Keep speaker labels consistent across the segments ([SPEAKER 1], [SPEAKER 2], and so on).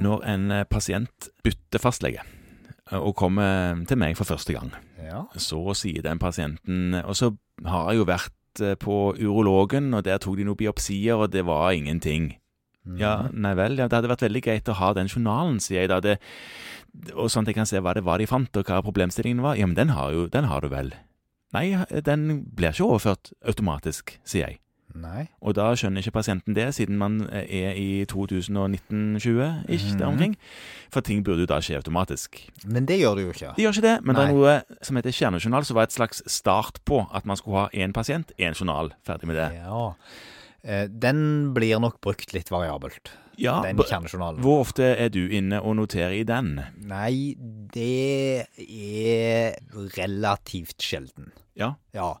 [SPEAKER 1] når en eh, pasient bytter fastlege eh, og kommer til meg for første gang.
[SPEAKER 2] Ja.
[SPEAKER 1] Så sier den pasienten Og så har jeg jo vært eh, på urologen, og der tok de noen biopsier, og det var ingenting.
[SPEAKER 2] Mhm.
[SPEAKER 1] Ja, nei vel. Ja, det hadde vært veldig greit å ha den journalen, sier jeg da. Det, og sånn at jeg kan se hva det var de fant, og hva problemstillingen var. Ja, men den har, jo, den har du vel. Nei, den blir ikke overført automatisk, sier jeg.
[SPEAKER 2] Mm, Nei.
[SPEAKER 1] Og da skjønner ikke pasienten det, siden man eh, er i 2019-20,
[SPEAKER 2] Mhm.
[SPEAKER 1] ish, der omkring. For ting burde jo da skje automatisk.
[SPEAKER 2] Men det gjør det jo ikke.
[SPEAKER 1] De gjør ikke det, men det
[SPEAKER 2] Nei.
[SPEAKER 1] er noe som heter kjernejournal, som var et slags start på at man skulle ha én pasient, én journal. Ferdig med det.
[SPEAKER 2] Ja. Eh, Den blir nok brukt litt variabelt,
[SPEAKER 1] Ja,
[SPEAKER 2] den
[SPEAKER 1] b-
[SPEAKER 2] kjernejournalen.
[SPEAKER 1] hvor ofte er du inne og noterer i den?
[SPEAKER 2] Nei, det er relativt sjelden.
[SPEAKER 1] Ja.
[SPEAKER 2] Ja,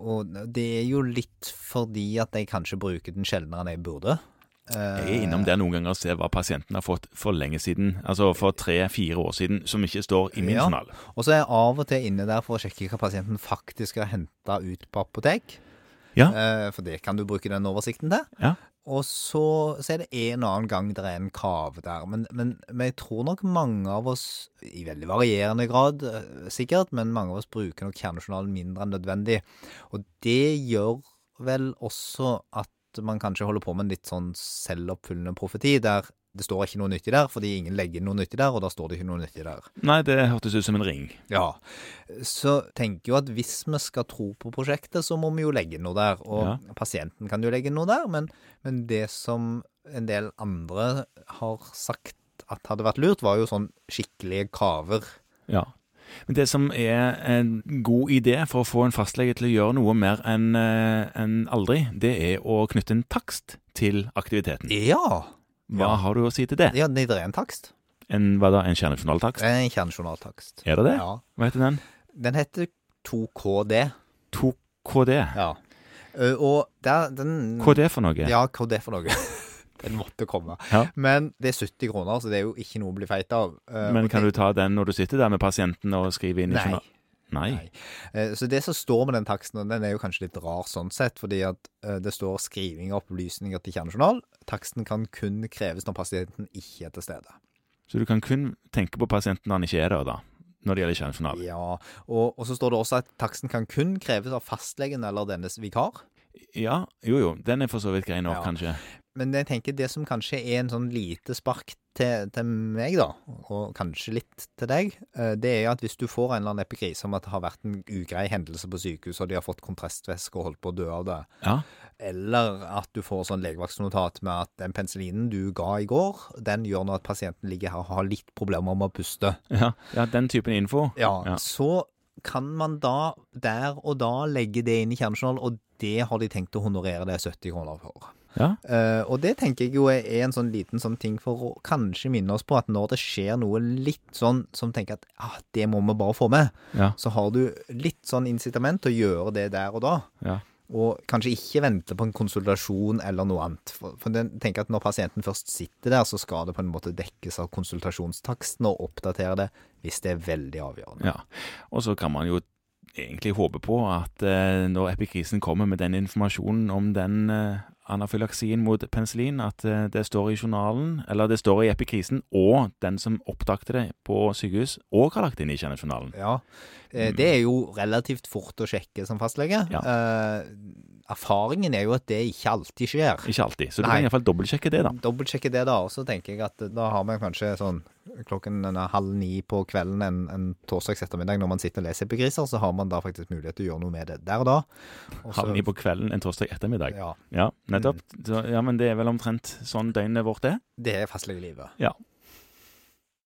[SPEAKER 2] og det er jo litt fordi at jeg kanskje bruker den sjeldnere enn jeg burde. Eh,
[SPEAKER 1] Jeg er innom der noen ganger og ser hva pasienten har fått for lenge siden, altså for tre-fire år siden, som ikke står i min
[SPEAKER 2] Ja.
[SPEAKER 1] journal.
[SPEAKER 2] Og så er jeg av og til inne der for å sjekke hva pasienten faktisk har henta ut på apotek.
[SPEAKER 1] Ja.
[SPEAKER 2] Eh, For det kan du bruke den oversikten til.
[SPEAKER 1] Ja.
[SPEAKER 2] Og så, så er det en og annen gang det er en kave der. Men, men, men jeg tror nok mange av oss, i veldig varierende grad eh, sikkert, men mange av oss bruker nok kjernejournalen mindre enn nødvendig. Og det gjør vel også at man kanskje holder på med en litt sånn selvoppfyllende profeti, der det står ikke noe nyttig der, fordi ingen legger noe nyttig der, og da står det ikke noe nyttig der.
[SPEAKER 1] Nei, det hørtes ut som en ring.
[SPEAKER 2] Ja. Så tenker jo at hvis vi skal tro på prosjektet, så må vi jo legge noe der. Og
[SPEAKER 1] Ja.
[SPEAKER 2] pasienten kan jo legge noe der, men, men det som en del andre har sagt at hadde vært lurt, var jo sånn skikkelige kaver.
[SPEAKER 1] Ja. Men det som er en god idé for å få en fastlege til å gjøre noe mer enn eh, enn aldri, det er å knytte en takst til aktiviteten.
[SPEAKER 2] Ja!
[SPEAKER 1] Hva
[SPEAKER 2] Ja.
[SPEAKER 1] har du å si til det?
[SPEAKER 2] ja det er en takst.
[SPEAKER 1] En, hva da, en kjernejournaltakst?
[SPEAKER 2] En kjernejournaltakst.
[SPEAKER 1] Er det det?
[SPEAKER 2] Ja.
[SPEAKER 1] Hva heter den?
[SPEAKER 2] Den heter 2KD.
[SPEAKER 1] 2KD.
[SPEAKER 2] Ja. Ø, Og der, den
[SPEAKER 1] Hva er det for noe?
[SPEAKER 2] Ja, hva er det for noe? Den måtte komme.
[SPEAKER 1] Ja.
[SPEAKER 2] Men det er 70 kroner, så det er jo ikke noe å bli feit av. Eh,
[SPEAKER 1] Men
[SPEAKER 2] og
[SPEAKER 1] kan
[SPEAKER 2] det-
[SPEAKER 1] du ta den når du sitter der med pasienten og skriver inn i
[SPEAKER 2] Nei.
[SPEAKER 1] journal? Nei.
[SPEAKER 2] Nei. Eh, Så det som står med den taksten, og den er jo kanskje litt rar sånn sett, fordi at eh, det står skriving av opplysninger til kjernejournal. Taksten kan kun kreves når pasienten ikke er til stede.
[SPEAKER 1] Så du kan kun tenke på pasienten når han ikke er der, da. Når det gjelder kjernejournal.
[SPEAKER 2] Ja, og, og så står det også at taksten kan kun kreves av fastlegen eller dennes vikar.
[SPEAKER 1] Ja, jo jo, den er for så vidt grei nok,
[SPEAKER 2] Ja.
[SPEAKER 1] kanskje.
[SPEAKER 2] Men jeg tenker det som kanskje er en sånn lite spark til, til meg, da, og kanskje litt til deg, eh, det er jo at hvis du får en eller annen epikrise om at det har vært en ugrei hendelse på sykehuset, og de har fått kompressvæske og holdt på å dø av det,
[SPEAKER 1] Ja.
[SPEAKER 2] Eller at du får sånn legevaktnotat med at den penicillinen du ga i går, den gjør nå at pasienten ligger her og har litt problemer med å puste.
[SPEAKER 1] Ja, ja den typen info.
[SPEAKER 2] Ja,
[SPEAKER 1] Ja.
[SPEAKER 2] Så kan man da der og da legge det inn i kjernejournal, og det har de tenkt å honorere det 70 kroner for.
[SPEAKER 1] Ja.
[SPEAKER 2] Eh, og det tenker jeg jo er en sånn liten sånn ting for å kanskje minne oss på at når det skjer noe litt sånn som tenker at ah, det må vi bare få med,
[SPEAKER 1] Ja.
[SPEAKER 2] så har du litt sånn incitament til å gjøre det der og da.
[SPEAKER 1] ja.
[SPEAKER 2] Og kanskje ikke vente på en konsultasjon eller noe annet. For, for den tenker at når pasienten først sitter der, så skal det på en måte dekkes av konsultasjonstaksten og oppdatere det hvis det er veldig avgjørende.
[SPEAKER 1] Ja, og så kan man jo egentlig håpe på at eh, når epikrisen kommer med den informasjonen om den eh, anafylaksien mot penicillin, at eh, det står i journalen, eller det står i epikrisen, og den som oppdagte det på sykehus, og har lagt det inn i kjernejournalen.
[SPEAKER 2] Ja. Eh, Det er jo relativt fort å sjekke som fastlege.
[SPEAKER 1] Mm. Ja.
[SPEAKER 2] Eh, erfaringen er jo at det ikke alltid skjer.
[SPEAKER 1] Ikke alltid, så du
[SPEAKER 2] Nei.
[SPEAKER 1] kan iallfall dobbeltsjekke det, da.
[SPEAKER 2] Dobbeltsjekke det, da. Og så tenker jeg at da har man kanskje sånn klokken en halv ni på kvelden en, en torsdags ettermiddag når man sitter og leser Epigriser, så har man da faktisk mulighet til å gjøre noe med det der og da. Og så-
[SPEAKER 1] Havn i på kvelden en torsdag ettermiddag.
[SPEAKER 2] Altså- Ja.
[SPEAKER 1] Ja, nettopp. Så, ja, men det er vel omtrent sånn døgnet vårt er.
[SPEAKER 2] Det er fastlegelivet.
[SPEAKER 1] Ja.